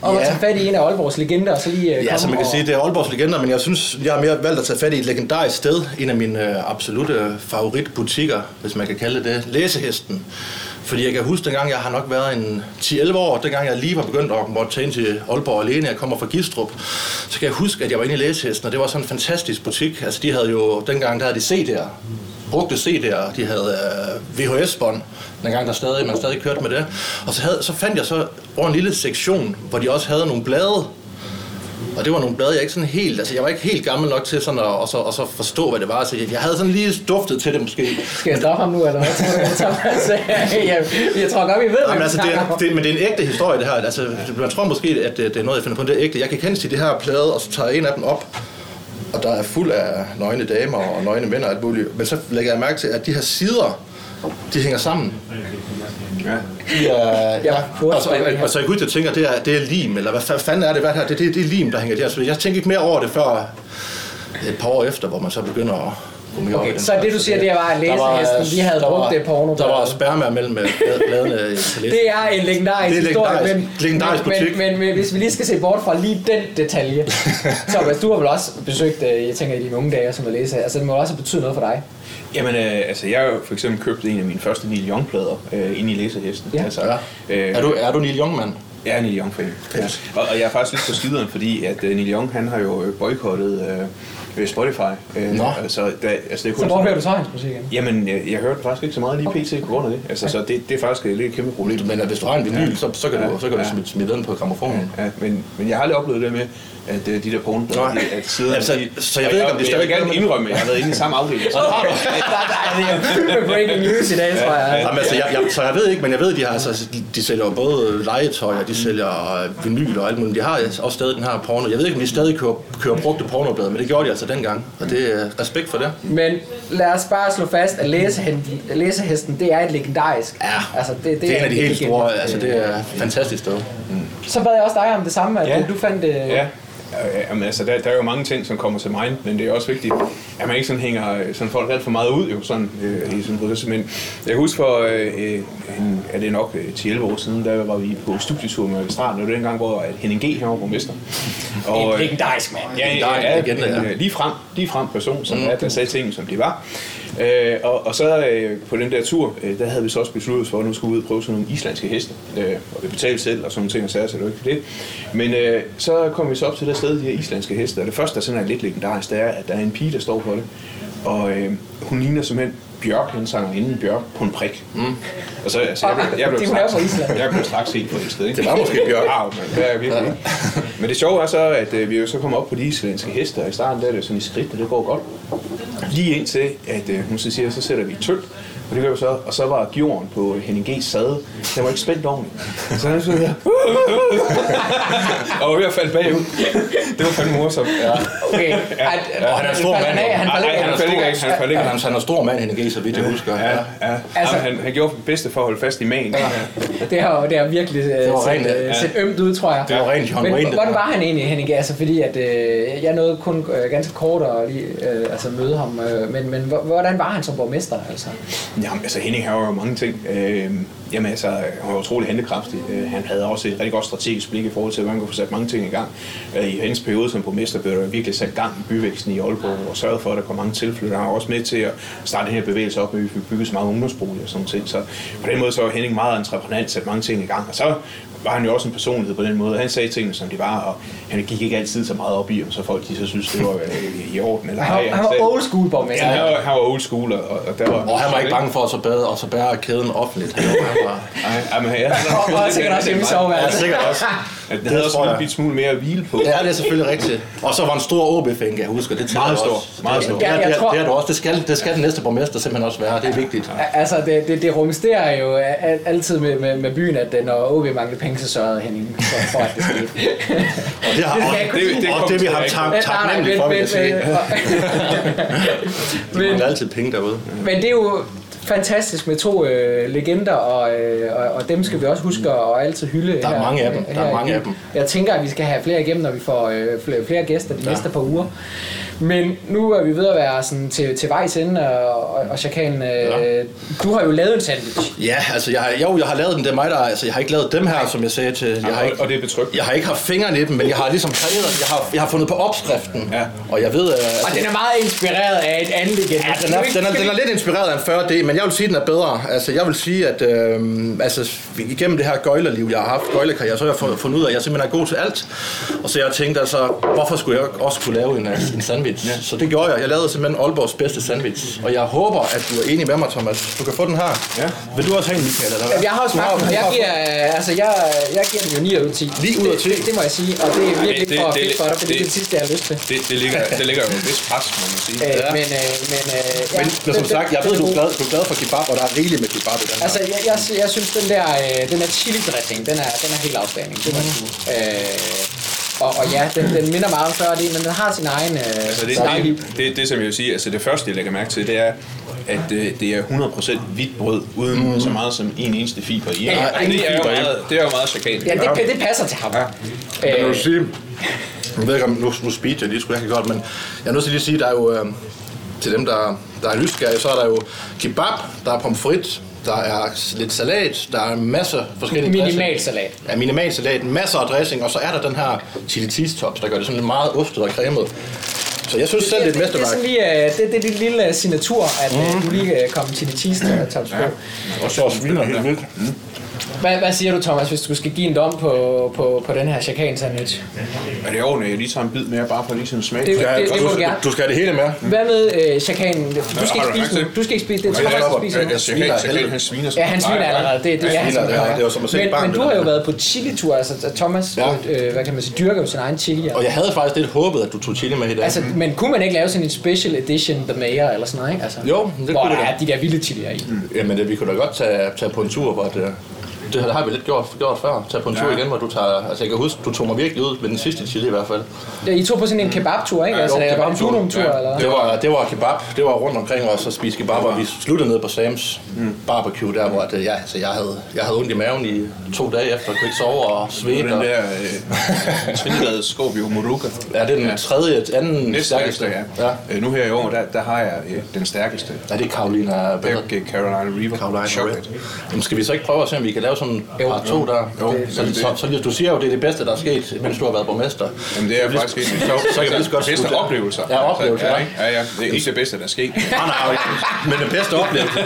Speaker 1: om ja. at
Speaker 3: Ja.
Speaker 1: tage fat i en af Aalborgs legender, og så lige øh,
Speaker 3: Ja,
Speaker 1: komme
Speaker 3: som man kan
Speaker 1: og-
Speaker 3: sige, det er Aalborgs legender, men jeg synes, jeg har mere valgt at tage fat i et legendarisk sted. En af mine øh, absolute favoritbutikker, hvis man kan kalde det det. Læsehesten. Fordi jeg kan huske, dengang jeg har nok været en 10-11 år, dengang jeg lige var begyndt at måtte tage ind til Aalborg alene, jeg kommer fra Gistrup, så kan jeg huske, at jeg var inde i Læsehesten, og det var sådan en fantastisk butik. Altså, de havde jo, dengang der havde de CD'er brugte CD'er, de havde øh, VHS-bånd, dengang der stadig, man stadig kørte med det. Og så, havde, så fandt jeg så over en lille sektion, hvor de også havde nogle blade, og det var nogle blade, jeg ikke sådan helt, altså jeg var ikke helt gammel nok til sådan at, og så, og så forstå, hvad det var. Så jeg, jeg havde sådan lige duftet til det måske.
Speaker 1: Skal jeg stoppe ham nu, eller hvad? Thomas, øh, jeg, jeg tror godt, vi ved, hvad
Speaker 3: Jamen,
Speaker 1: vi
Speaker 3: altså, det
Speaker 1: snakker
Speaker 3: er,
Speaker 1: om.
Speaker 3: det, men det er en ægte historie, det her. Altså, man tror måske, at øh, det, det er noget, jeg finder på, men det er ægte. Jeg kan kende til det her plade, og så tager jeg en af dem op, og der er fuld af nøgne damer og nøgne mænd og alt muligt. Men så lægger jeg mærke til, at de her sider, de hænger sammen.
Speaker 2: Ja.
Speaker 3: Ja, ja.
Speaker 1: burde
Speaker 3: Og, så,
Speaker 1: spille det her.
Speaker 3: og, og så jeg husker, jeg tænker, det er, det er lim, eller hvad fa- fanden er det, hvad her? Det, det, det er lim, der hænger der. Så jeg tænker ikke mere over det før et par år efter, hvor man så begynder at gå mere
Speaker 1: Okay,
Speaker 3: op i den
Speaker 1: så det,
Speaker 3: slags.
Speaker 1: du siger, det var, at
Speaker 3: Der var-
Speaker 1: læsehesten, de havde
Speaker 3: der
Speaker 1: brugt
Speaker 3: var-
Speaker 1: det porno.
Speaker 3: Der var sperma mellem øh, bladene til læsehesten.
Speaker 1: Det er en legendarisk
Speaker 3: Det er
Speaker 1: historie,
Speaker 3: legendarisk.
Speaker 1: men,
Speaker 3: Legendarisk
Speaker 1: men, men,
Speaker 3: butik.
Speaker 1: men, men hvis vi lige skal se bort fra lige den detalje. Thomas, du har vel også besøgt, øh, jeg tænker i dine unge dage, som at læse, altså det må også have betydet noget for dig.
Speaker 2: Jamen, øh, altså, jeg har jo for eksempel købt en af mine første Neil Young-plader øh, inde i læserhesten.
Speaker 1: Ja.
Speaker 2: Altså,
Speaker 3: Ja.
Speaker 2: øh,
Speaker 3: Er du, er du Neil Young, mand?
Speaker 2: Jeg er Neil Young fan. Ja. Og, og jeg er faktisk lidt på skideren, fordi at uh, Neil Young han har jo øh, boykottet øh, øh, Spotify. Øh,
Speaker 3: Nå.
Speaker 2: Altså, da, altså, det er kun
Speaker 1: Så hvor hører du så hans musik igen?
Speaker 2: Jamen, øh, jeg, jeg hørte faktisk ikke så meget lige pt. på grund af det. Altså, så det, det er faktisk et lidt kæmpe problem.
Speaker 3: Men øh, hvis du har en vinyl, så, så kan du, så kan du
Speaker 2: Ja.
Speaker 3: smide, smide den på gramofonen.
Speaker 2: Ja, men, men jeg har aldrig oplevet det med, at øh, de der porno,
Speaker 3: Nej.
Speaker 2: at, at sidder...
Speaker 3: Altså,
Speaker 2: de,
Speaker 3: så jeg ved ikke, om det
Speaker 2: stadig... Jeg
Speaker 3: stadig-
Speaker 2: vil gerne indrømme, at jeg har været inde i samme afdeling. Så har du.
Speaker 1: Der, der er det er kæmpe breaking news i dag, tror jeg.
Speaker 3: Jamen, altså, jeg, jeg, så jeg ved ikke, men jeg ved, de har altså, de sælger jo både legetøj, og de sælger øh, vinyl og alt muligt. De har også stadig den her porno. Jeg ved ikke, om de stadig kører, kører brugte pornoblade, men det gjorde de altså dengang. Og det er respekt for det.
Speaker 1: Men lad os bare slå fast, at læsehesten, læsehesten det er et legendarisk.
Speaker 3: Ja,
Speaker 1: altså, det, det,
Speaker 3: Det er en af de helt
Speaker 1: legende.
Speaker 3: store, altså det er et
Speaker 2: Mm.
Speaker 3: fantastisk sted.
Speaker 1: Så bad jeg også dig om det samme, at
Speaker 2: Ja.
Speaker 1: du fandt... Øh,
Speaker 2: Ja. Øh, Jamen, altså, der, der er jo mange ting, som kommer til mig, men det er også vigtigt, at man ikke sådan hænger øh, sådan folk alt for meget ud jo, sådan, øh, i sådan en proces. Men jeg husker for, øh, øh, en, er det nok øh, 10-11 år siden, der var vi på studietur med Vestraten, og det var dengang, hvor at Henning G. han var borgmester. Og, øh,
Speaker 1: legendarisk mand.
Speaker 2: Ja,
Speaker 3: Der er
Speaker 2: ja,
Speaker 3: en legende,
Speaker 2: en,
Speaker 3: ja.
Speaker 2: øh, ligefrem, ligefrem person, som mm. er, der sagde tingene, som de var. Øh, og, og så øh, på den der tur, øh, der havde vi så også besluttet os for, at nu skulle vi ud og prøve sådan nogle islandske heste. Øh, og vi betalte selv og sådan nogle ting og sager, så det var ikke det. Men øh, så kom vi så op til det sted, de her islandske heste. Og det første, der sådan er lidt legendarisk, det er, at der er en pige, der står for det. Og øh, hun ligner simpelthen Bjørk, han sanger inden Bjørk på en prik. Mm. Og så, altså, jeg, blev, jeg, blev
Speaker 1: Det kunne være på Island.
Speaker 2: jeg blev straks helt forelsket. ikke?
Speaker 3: Det var måske Bjørk.
Speaker 2: Arv, mand. Det er jeg virkelig. Men det sjove er så, at øh, vi jo så kommer op på de islandske heste, og i starten der er det jo sådan i skridt, og det går godt. Lige indtil, at øh, hun så siger, så sætter vi et tøl, og det gør vi så, og så var gjorden på Henning G's sadel, den var ikke spændt ordentligt. Så han sådan her, og var ved at falde bagud. Det var fandme morsomt. Ja.
Speaker 1: Okay. At,
Speaker 3: Og han er en stor
Speaker 1: faldt
Speaker 3: mand,
Speaker 1: af,
Speaker 3: jo.
Speaker 1: Han
Speaker 2: Ej,
Speaker 1: faldt af.
Speaker 2: han er
Speaker 1: Han
Speaker 2: stor.
Speaker 1: faldt af.
Speaker 2: ikke, han faldt ikke.
Speaker 3: Han er- han er stor mand, Henning G., så vidt jeg husker.
Speaker 2: Ja,
Speaker 3: Ja.
Speaker 2: ja.
Speaker 1: Altså-
Speaker 2: Altså, Jamen, han, han gjorde det bedste for at holde fast i magen. Ja.
Speaker 1: Det har, det har virkelig øh,
Speaker 3: var
Speaker 1: set,
Speaker 3: rent,
Speaker 1: øh,
Speaker 3: ja.
Speaker 1: set ømt ud, tror jeg.
Speaker 3: Det var rent John
Speaker 1: Men
Speaker 3: Wayne, det
Speaker 1: hvordan
Speaker 3: der.
Speaker 1: var han egentlig, Henning? Altså, fordi at, øh, jeg nåede kun øh, ganske kort at lige, øh, altså, møde ham. Øh, men, men hvor- hvordan var han som borgmester? Altså?
Speaker 2: Jamen, altså Henning har jo mange ting. Øh, jamen, altså, han var utrolig handlekraftig. Øh, han havde også et rigtig godt strategisk blik i forhold til, hvordan man kunne få sat mange ting i gang. Øh, I hans periode som borgmester blev der virkelig sat gang i byvæksten i Aalborg og sørget for, at der kom mange tilflyttere. Han var også med til at starte den her bevægelse op, med at vi byggede så mange ungdomsboliger og sådan ting. Så på den måde så var Henning meget entreprenant, sat mange ting i gang. Og så var han jo også en personlighed på den måde. Han sagde tingene, som de var, og han gik ikke altid så meget op i, om så folk de så synes, det var øh, i orden eller
Speaker 1: Han,
Speaker 2: ej.
Speaker 1: var- han var
Speaker 2: sagde-
Speaker 1: old school borgmester.
Speaker 2: Ja, han var, han var old school, og, og der var...
Speaker 3: Og han var ikke bange for at så bade, og så bære kæden offentligt. Han var- han var-
Speaker 2: Nej, jamen, ja.
Speaker 1: Og- og sikkert også hjemme i
Speaker 3: Ja,
Speaker 1: soveværelset.
Speaker 3: sikkert også.
Speaker 2: Det havde også
Speaker 3: tror jeg.
Speaker 2: en lille smule mere at hvile på.
Speaker 3: Ja, det er selvfølgelig rigtigt. Og så var en stor OB-fan, kan jeg husker. Det tæller
Speaker 2: Meget stor,
Speaker 3: Også.
Speaker 2: meget stor.
Speaker 3: Det, er-
Speaker 1: Ja,
Speaker 3: det,
Speaker 1: jeg
Speaker 3: er-
Speaker 1: tror-
Speaker 3: det, er du også. Det skal, det skal den næste borgmester simpelthen også være. Det er vigtigt.
Speaker 1: Altså, det, det, det rumsterer jo al- altid med, med, med byen, at øh, når OB manglede penge, så sørgede Henning for, for at det skete.
Speaker 3: Og det, har,
Speaker 1: Det skal jeg
Speaker 3: og,
Speaker 1: kunne
Speaker 3: det,
Speaker 2: lide.
Speaker 3: det, og det vi har
Speaker 1: Men-
Speaker 3: tak,
Speaker 1: Øh, nej, nej,
Speaker 3: taknemmelig for, vil jeg sige.
Speaker 1: men,
Speaker 3: De
Speaker 1: men, men,
Speaker 3: mangler altid penge derude.
Speaker 1: Men det er jo fantastisk med to øh, legender, og, øh, og, og dem skal vi også huske at altid hylde. Der
Speaker 3: er mange af dem. Der er mange af dem.
Speaker 1: Jeg tænker, at vi skal have flere igennem, når vi får øh, flere, flere gæster de ja. næste par uger. Men nu er vi ved at være sådan til, til vejs ende, og, og, og chakalen, øh,
Speaker 3: Ja.
Speaker 1: du har jo lavet en sandwich.
Speaker 3: Ja, altså jeg, har- jo, jeg har lavet dem, det er mig, der, altså jeg har ikke lavet dem her, som jeg sagde til, jeg har
Speaker 2: og-
Speaker 3: ikke,
Speaker 2: og det er betryggende.
Speaker 3: Jeg har ikke haft fingrene i dem, men jeg har ligesom kreeret, jeg har, jeg har fundet på opskriften,
Speaker 2: Ja.
Speaker 3: og jeg ved, at altså,
Speaker 1: Og den er meget inspireret af et andet legende.
Speaker 3: Ja, den Altså, er, den, er, den er lidt inspireret af en 40D, men jeg vil sige, at den er bedre. Altså, jeg vil sige, at øh, altså, igennem det her gøjlerliv, jeg har haft, gøjlerkarriere, så har jeg fun- fundet ud af, at jeg simpelthen er god til alt. Og så jeg tænkte altså, hvorfor skulle jeg også kunne lave en, øh, en sandwich? Ja. Så det gjorde jeg. Jeg lavede simpelthen Aalborgs bedste sandwich. Og jeg håber, at du er enig med mig, Thomas. Du kan få den her.
Speaker 2: Ja.
Speaker 3: Vil du også have en, Michael? Eller hvad?
Speaker 1: Jeg har også
Speaker 3: Du
Speaker 1: smagt den, og
Speaker 3: du
Speaker 1: jeg
Speaker 3: har-
Speaker 1: giver, øh, altså jeg, jeg giver den jo 9 ud af 10.
Speaker 3: Ni ud af
Speaker 1: Det-
Speaker 3: 10.
Speaker 1: Det, det, må jeg sige, og det er virkelig
Speaker 2: det-
Speaker 1: ikke for
Speaker 2: det-
Speaker 1: fedt for dig, for det, er
Speaker 2: det-
Speaker 1: det sidste, jeg har lyst til.
Speaker 2: Det, det, ligger, det ligger jo en vis pres, må man sige.
Speaker 1: Øh,
Speaker 3: Ja.
Speaker 1: Men, øh, men, øh, ja,
Speaker 3: Men, men som
Speaker 1: den-
Speaker 3: sagt, jeg
Speaker 1: den-
Speaker 3: ved,
Speaker 1: den er
Speaker 3: du er,
Speaker 1: god.
Speaker 3: glad, du er glad for kebab, og der er rigeligt med kebab i den her.
Speaker 1: Altså, jeg, jeg, sy- jeg synes, den der, øh, den der chili-dressing, den er, den er helt afstanding. Det må jeg sige. Øh, og, og ja, den, den minder meget om før det, men den har sin egen... Øh,
Speaker 2: Altså
Speaker 1: sin
Speaker 2: det,
Speaker 1: egen liv.
Speaker 2: det, det, det, som jeg vil sige, altså det første, jeg lægger mærke til, det er, at øh, det er 100% hvidt brød, uden mm. så meget som en eneste fiber i.
Speaker 1: Ja,
Speaker 2: Og
Speaker 1: ingen
Speaker 2: det, er jo
Speaker 3: fiber i.
Speaker 2: meget, det er jo meget chakalt.
Speaker 1: Ja, det, det passer til ham. Ja.
Speaker 3: Jeg vil
Speaker 1: Øh,
Speaker 3: sige, jeg ved ikke om, nu, nu speed jeg lige sgu rigtig godt, men jeg er nødt til lige at sige, der er jo, øh, til dem, der, der er nysgerrige, så er der jo kebab, der er pomfrit, der er s- lidt salat, der er masser forskellige
Speaker 1: minimal
Speaker 3: dressing.
Speaker 1: salat.
Speaker 3: Ja, minimal salat, masser af dressing, og så er der den her chili cheese top, der gør det sådan lidt meget ostet og cremet. Så jeg synes selv, det er
Speaker 1: det,
Speaker 3: et
Speaker 1: det, er
Speaker 3: mesterværk.
Speaker 1: sådan lige, øh, det, det er dit lille øh, signatur, at mm. du lige øh, kom til dit sidste top ja.
Speaker 3: Og så sviner helt vildt.
Speaker 1: hvad, hvad siger du, Thomas, hvis du skal give en dom på, på, på den her chakan sandwich?
Speaker 2: Er det ordentligt, at jeg lige tager en bid mere, bare for lige sådan smag?
Speaker 1: Det-
Speaker 2: Det,
Speaker 3: Ja,
Speaker 1: det må
Speaker 3: du,
Speaker 1: du
Speaker 3: du,
Speaker 1: gerne.
Speaker 3: du skal have det hele med.
Speaker 1: Hvad med øh, chakanen? Du skal
Speaker 2: har
Speaker 1: ikke
Speaker 2: du lagt
Speaker 1: spise nu.
Speaker 2: til?
Speaker 1: Du skal ikke spise det.
Speaker 2: det,
Speaker 1: Thomas
Speaker 2: er
Speaker 1: skal spise
Speaker 2: godt.
Speaker 1: nu.
Speaker 2: Jeg siger helt
Speaker 3: Sviner
Speaker 2: chakalt,
Speaker 3: helvede.
Speaker 2: han sviner. så
Speaker 1: Ja, han
Speaker 2: meget.
Speaker 1: sviner allerede. Det, det er han,
Speaker 3: sviner,
Speaker 1: som
Speaker 3: det er-
Speaker 1: gør.
Speaker 3: det er jo som at se et
Speaker 1: men,
Speaker 3: barn,
Speaker 1: men
Speaker 3: det
Speaker 1: du
Speaker 3: der.
Speaker 1: har jo været på chili-tur, altså Thomas,
Speaker 3: Ja.
Speaker 1: øh, hvad kan man sige, dyrker jo sin egen chili.
Speaker 3: Og jeg havde faktisk lidt håbet, at du tog chili med i dag.
Speaker 1: Altså, men kunne man ikke lave sådan en special edition The Mayor eller sådan noget, ikke? Altså,
Speaker 3: Jo, det
Speaker 1: hvor
Speaker 3: kunne
Speaker 1: der
Speaker 3: vi da.
Speaker 1: er de der vilde chilier i.
Speaker 3: Jamen, øh, vi kunne da godt tage, tage på en tur, hvor det, det har- det har vi lidt gjort, gjort før. Tage på en ja. tur
Speaker 2: Ja.
Speaker 3: igen, hvor du tager... Altså, jeg kan huske, du tog mig virkelig ud med den sidste chili i hvert fald.
Speaker 1: Ja, I tog på sådan en kebab-tur, ikke? Altså,
Speaker 3: Mm. Jo,
Speaker 1: der var en
Speaker 3: kebabtur.
Speaker 1: Dunum-tur,
Speaker 3: Ja.
Speaker 1: eller hvad?
Speaker 3: Det var, det var kebab. Det var rundt omkring os og spise kebab, og vi sluttede ned på Sam's mm. barbecue, der hvor det, ja, altså, jeg, havde, jeg havde ondt i maven i to dage efter, kunne ikke sove og
Speaker 2: Det
Speaker 3: svedte.
Speaker 2: er den
Speaker 3: og-
Speaker 2: der øh, trinidad Scorpio Moruga.
Speaker 3: Ja, det er den tredje, anden
Speaker 2: Næste stærkeste,
Speaker 3: stærkeste.
Speaker 2: ja.
Speaker 3: ja.
Speaker 2: Øh, nu her i år, der, der har jeg øh, den stærkeste.
Speaker 3: Ja, det er Carolina
Speaker 2: Det
Speaker 3: Bell.
Speaker 2: er Carolina Reaper.
Speaker 3: Carolina Red.
Speaker 2: Chocolate.
Speaker 3: Jamen, skal vi så ikke prøve at se, om vi kan lave sådan en
Speaker 1: Jo.
Speaker 3: par to der?
Speaker 2: Jo,
Speaker 3: Så, så,
Speaker 2: det-
Speaker 3: så, så, du siger jo, det er det bedste, der er sket, mens du har været borgmester.
Speaker 2: Jamen det er faktisk helt sjovt.
Speaker 3: så kan vi lige så godt
Speaker 2: bedste
Speaker 3: slutte.
Speaker 2: oplevelser.
Speaker 3: Ja, oplevelser,
Speaker 2: Ja,
Speaker 3: ja.
Speaker 2: ikke? ja, ja. Det er ikke det bedste, der er sket.
Speaker 3: Nej, nej, men den bedste oplevelse.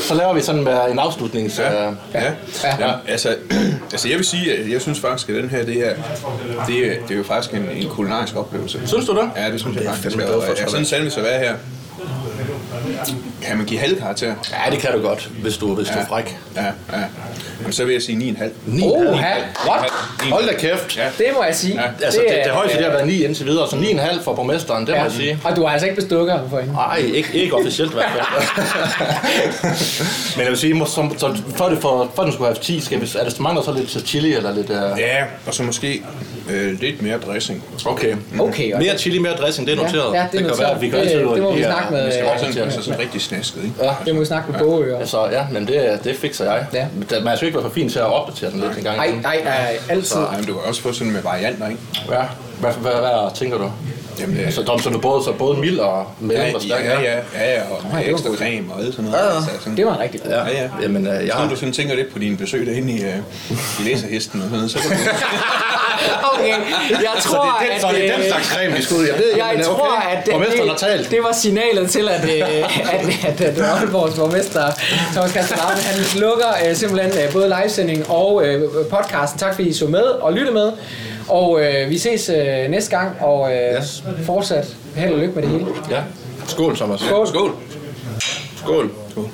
Speaker 3: så laver vi sådan med en afslutnings... Ja. Øh,
Speaker 2: Ja.
Speaker 1: Ja.
Speaker 2: ja. Jamen, altså, altså, jeg vil sige, at jeg synes faktisk, at den her, det er, det er, det er jo faktisk en, en kulinarisk oplevelse.
Speaker 3: Synes du det?
Speaker 2: Ja, det synes
Speaker 3: Det
Speaker 2: jeg
Speaker 3: er
Speaker 2: faktisk.
Speaker 3: fandme
Speaker 2: Og,
Speaker 3: glad for,
Speaker 2: og,
Speaker 3: tror
Speaker 2: ja,
Speaker 3: jeg.
Speaker 2: sådan en sandwich at være her, kan man give halv karakter?
Speaker 3: ja, det kan du godt, hvis du, hvis du er fræk.
Speaker 2: Ja, ja. Jamen, så vil jeg sige 9,5.
Speaker 3: Ni.
Speaker 1: Oha, what?
Speaker 3: Hold da kæft.
Speaker 2: Ja.
Speaker 1: Det må jeg sige.
Speaker 2: Ja,
Speaker 3: Altså, det, det, det
Speaker 1: er-
Speaker 3: højeste, det har været 9 indtil videre, så 9,5 for borgmesteren, det må
Speaker 1: ja.
Speaker 3: jeg sige.
Speaker 1: Og du har altså ikke bestukket ham for hende.
Speaker 3: Nej, ikke, ikke officielt i hvert fald. Men jeg vil sige, må- som, så, for, det for, for den skulle have 10, skal vi, er det mangler så lidt til chili eller lidt... Uh...
Speaker 2: Ja, og så måske øh, lidt mere dressing.
Speaker 3: Okay.
Speaker 1: Okay, og-
Speaker 3: Mere chili, mere dressing, det er
Speaker 1: Ja,
Speaker 3: noteret.
Speaker 1: ja, det er
Speaker 3: kan
Speaker 1: noteret.
Speaker 3: være, at vi kan
Speaker 1: Det-
Speaker 3: altid...
Speaker 1: det må vi
Speaker 3: ja,
Speaker 1: snakke med-
Speaker 3: vi skal
Speaker 1: Ja,
Speaker 2: Og
Speaker 3: også
Speaker 2: sådan,
Speaker 3: til at-
Speaker 2: altså sådan rigtig snasket, ikke?
Speaker 3: Ja.
Speaker 1: Det må vi snakke med Bogøer.
Speaker 3: Så ja, men det, det fikser jeg.
Speaker 1: Ja.
Speaker 3: Ja. Men der- man er jo ikke være for fin til at opdatere den lidt en gang.
Speaker 1: Nej,
Speaker 3: imellem.
Speaker 1: nej, nej, altid.
Speaker 2: Ej, men du kan også få sådan med varianter, ikke?
Speaker 3: Ja. Hvad, hvad, hvad, tænker du?
Speaker 2: Jamen, øh,
Speaker 3: Så, Dom, så du både, så både mild og mellem
Speaker 2: ja,
Speaker 3: og stærk?
Speaker 2: ja, ja, ja, ja, og med
Speaker 1: det var
Speaker 2: ekstra
Speaker 1: godt.
Speaker 2: creme og alt sådan
Speaker 3: Ja,
Speaker 2: noget.
Speaker 3: ja.
Speaker 2: Altså, sådan-
Speaker 1: Det var rigtig godt.
Speaker 3: Ja,
Speaker 2: Ja, ja.
Speaker 3: ja. Jamen, øh, jeg
Speaker 2: Når
Speaker 3: har...
Speaker 2: du sådan tænker lidt på dine besøg derinde i, øh, i læserhesten og sådan noget, så kan du...
Speaker 1: Okay, jeg tror,
Speaker 3: så det
Speaker 1: at...
Speaker 3: er den, så det er den
Speaker 1: øh,
Speaker 3: slags creme, vi skal ud i. Jeg, ved,
Speaker 1: Jeg
Speaker 3: jamen,
Speaker 1: tror, at det,
Speaker 3: Borgmesteren har talt.
Speaker 1: det, det var signalet til, at, øh, at, at, at Aalborgs borgmester, Thomas Kastelarme, han lukker øh, simpelthen øh, både livesending og øh, podcasten. Tak fordi I så med og lytte med. Og øh, vi ses øh, næste gang, og øh, yes.
Speaker 3: Yes.
Speaker 1: fortsat held og lykke med det hele.
Speaker 3: Ja. Skål, Thomas.
Speaker 1: Skål.
Speaker 2: Skål!
Speaker 3: Skål.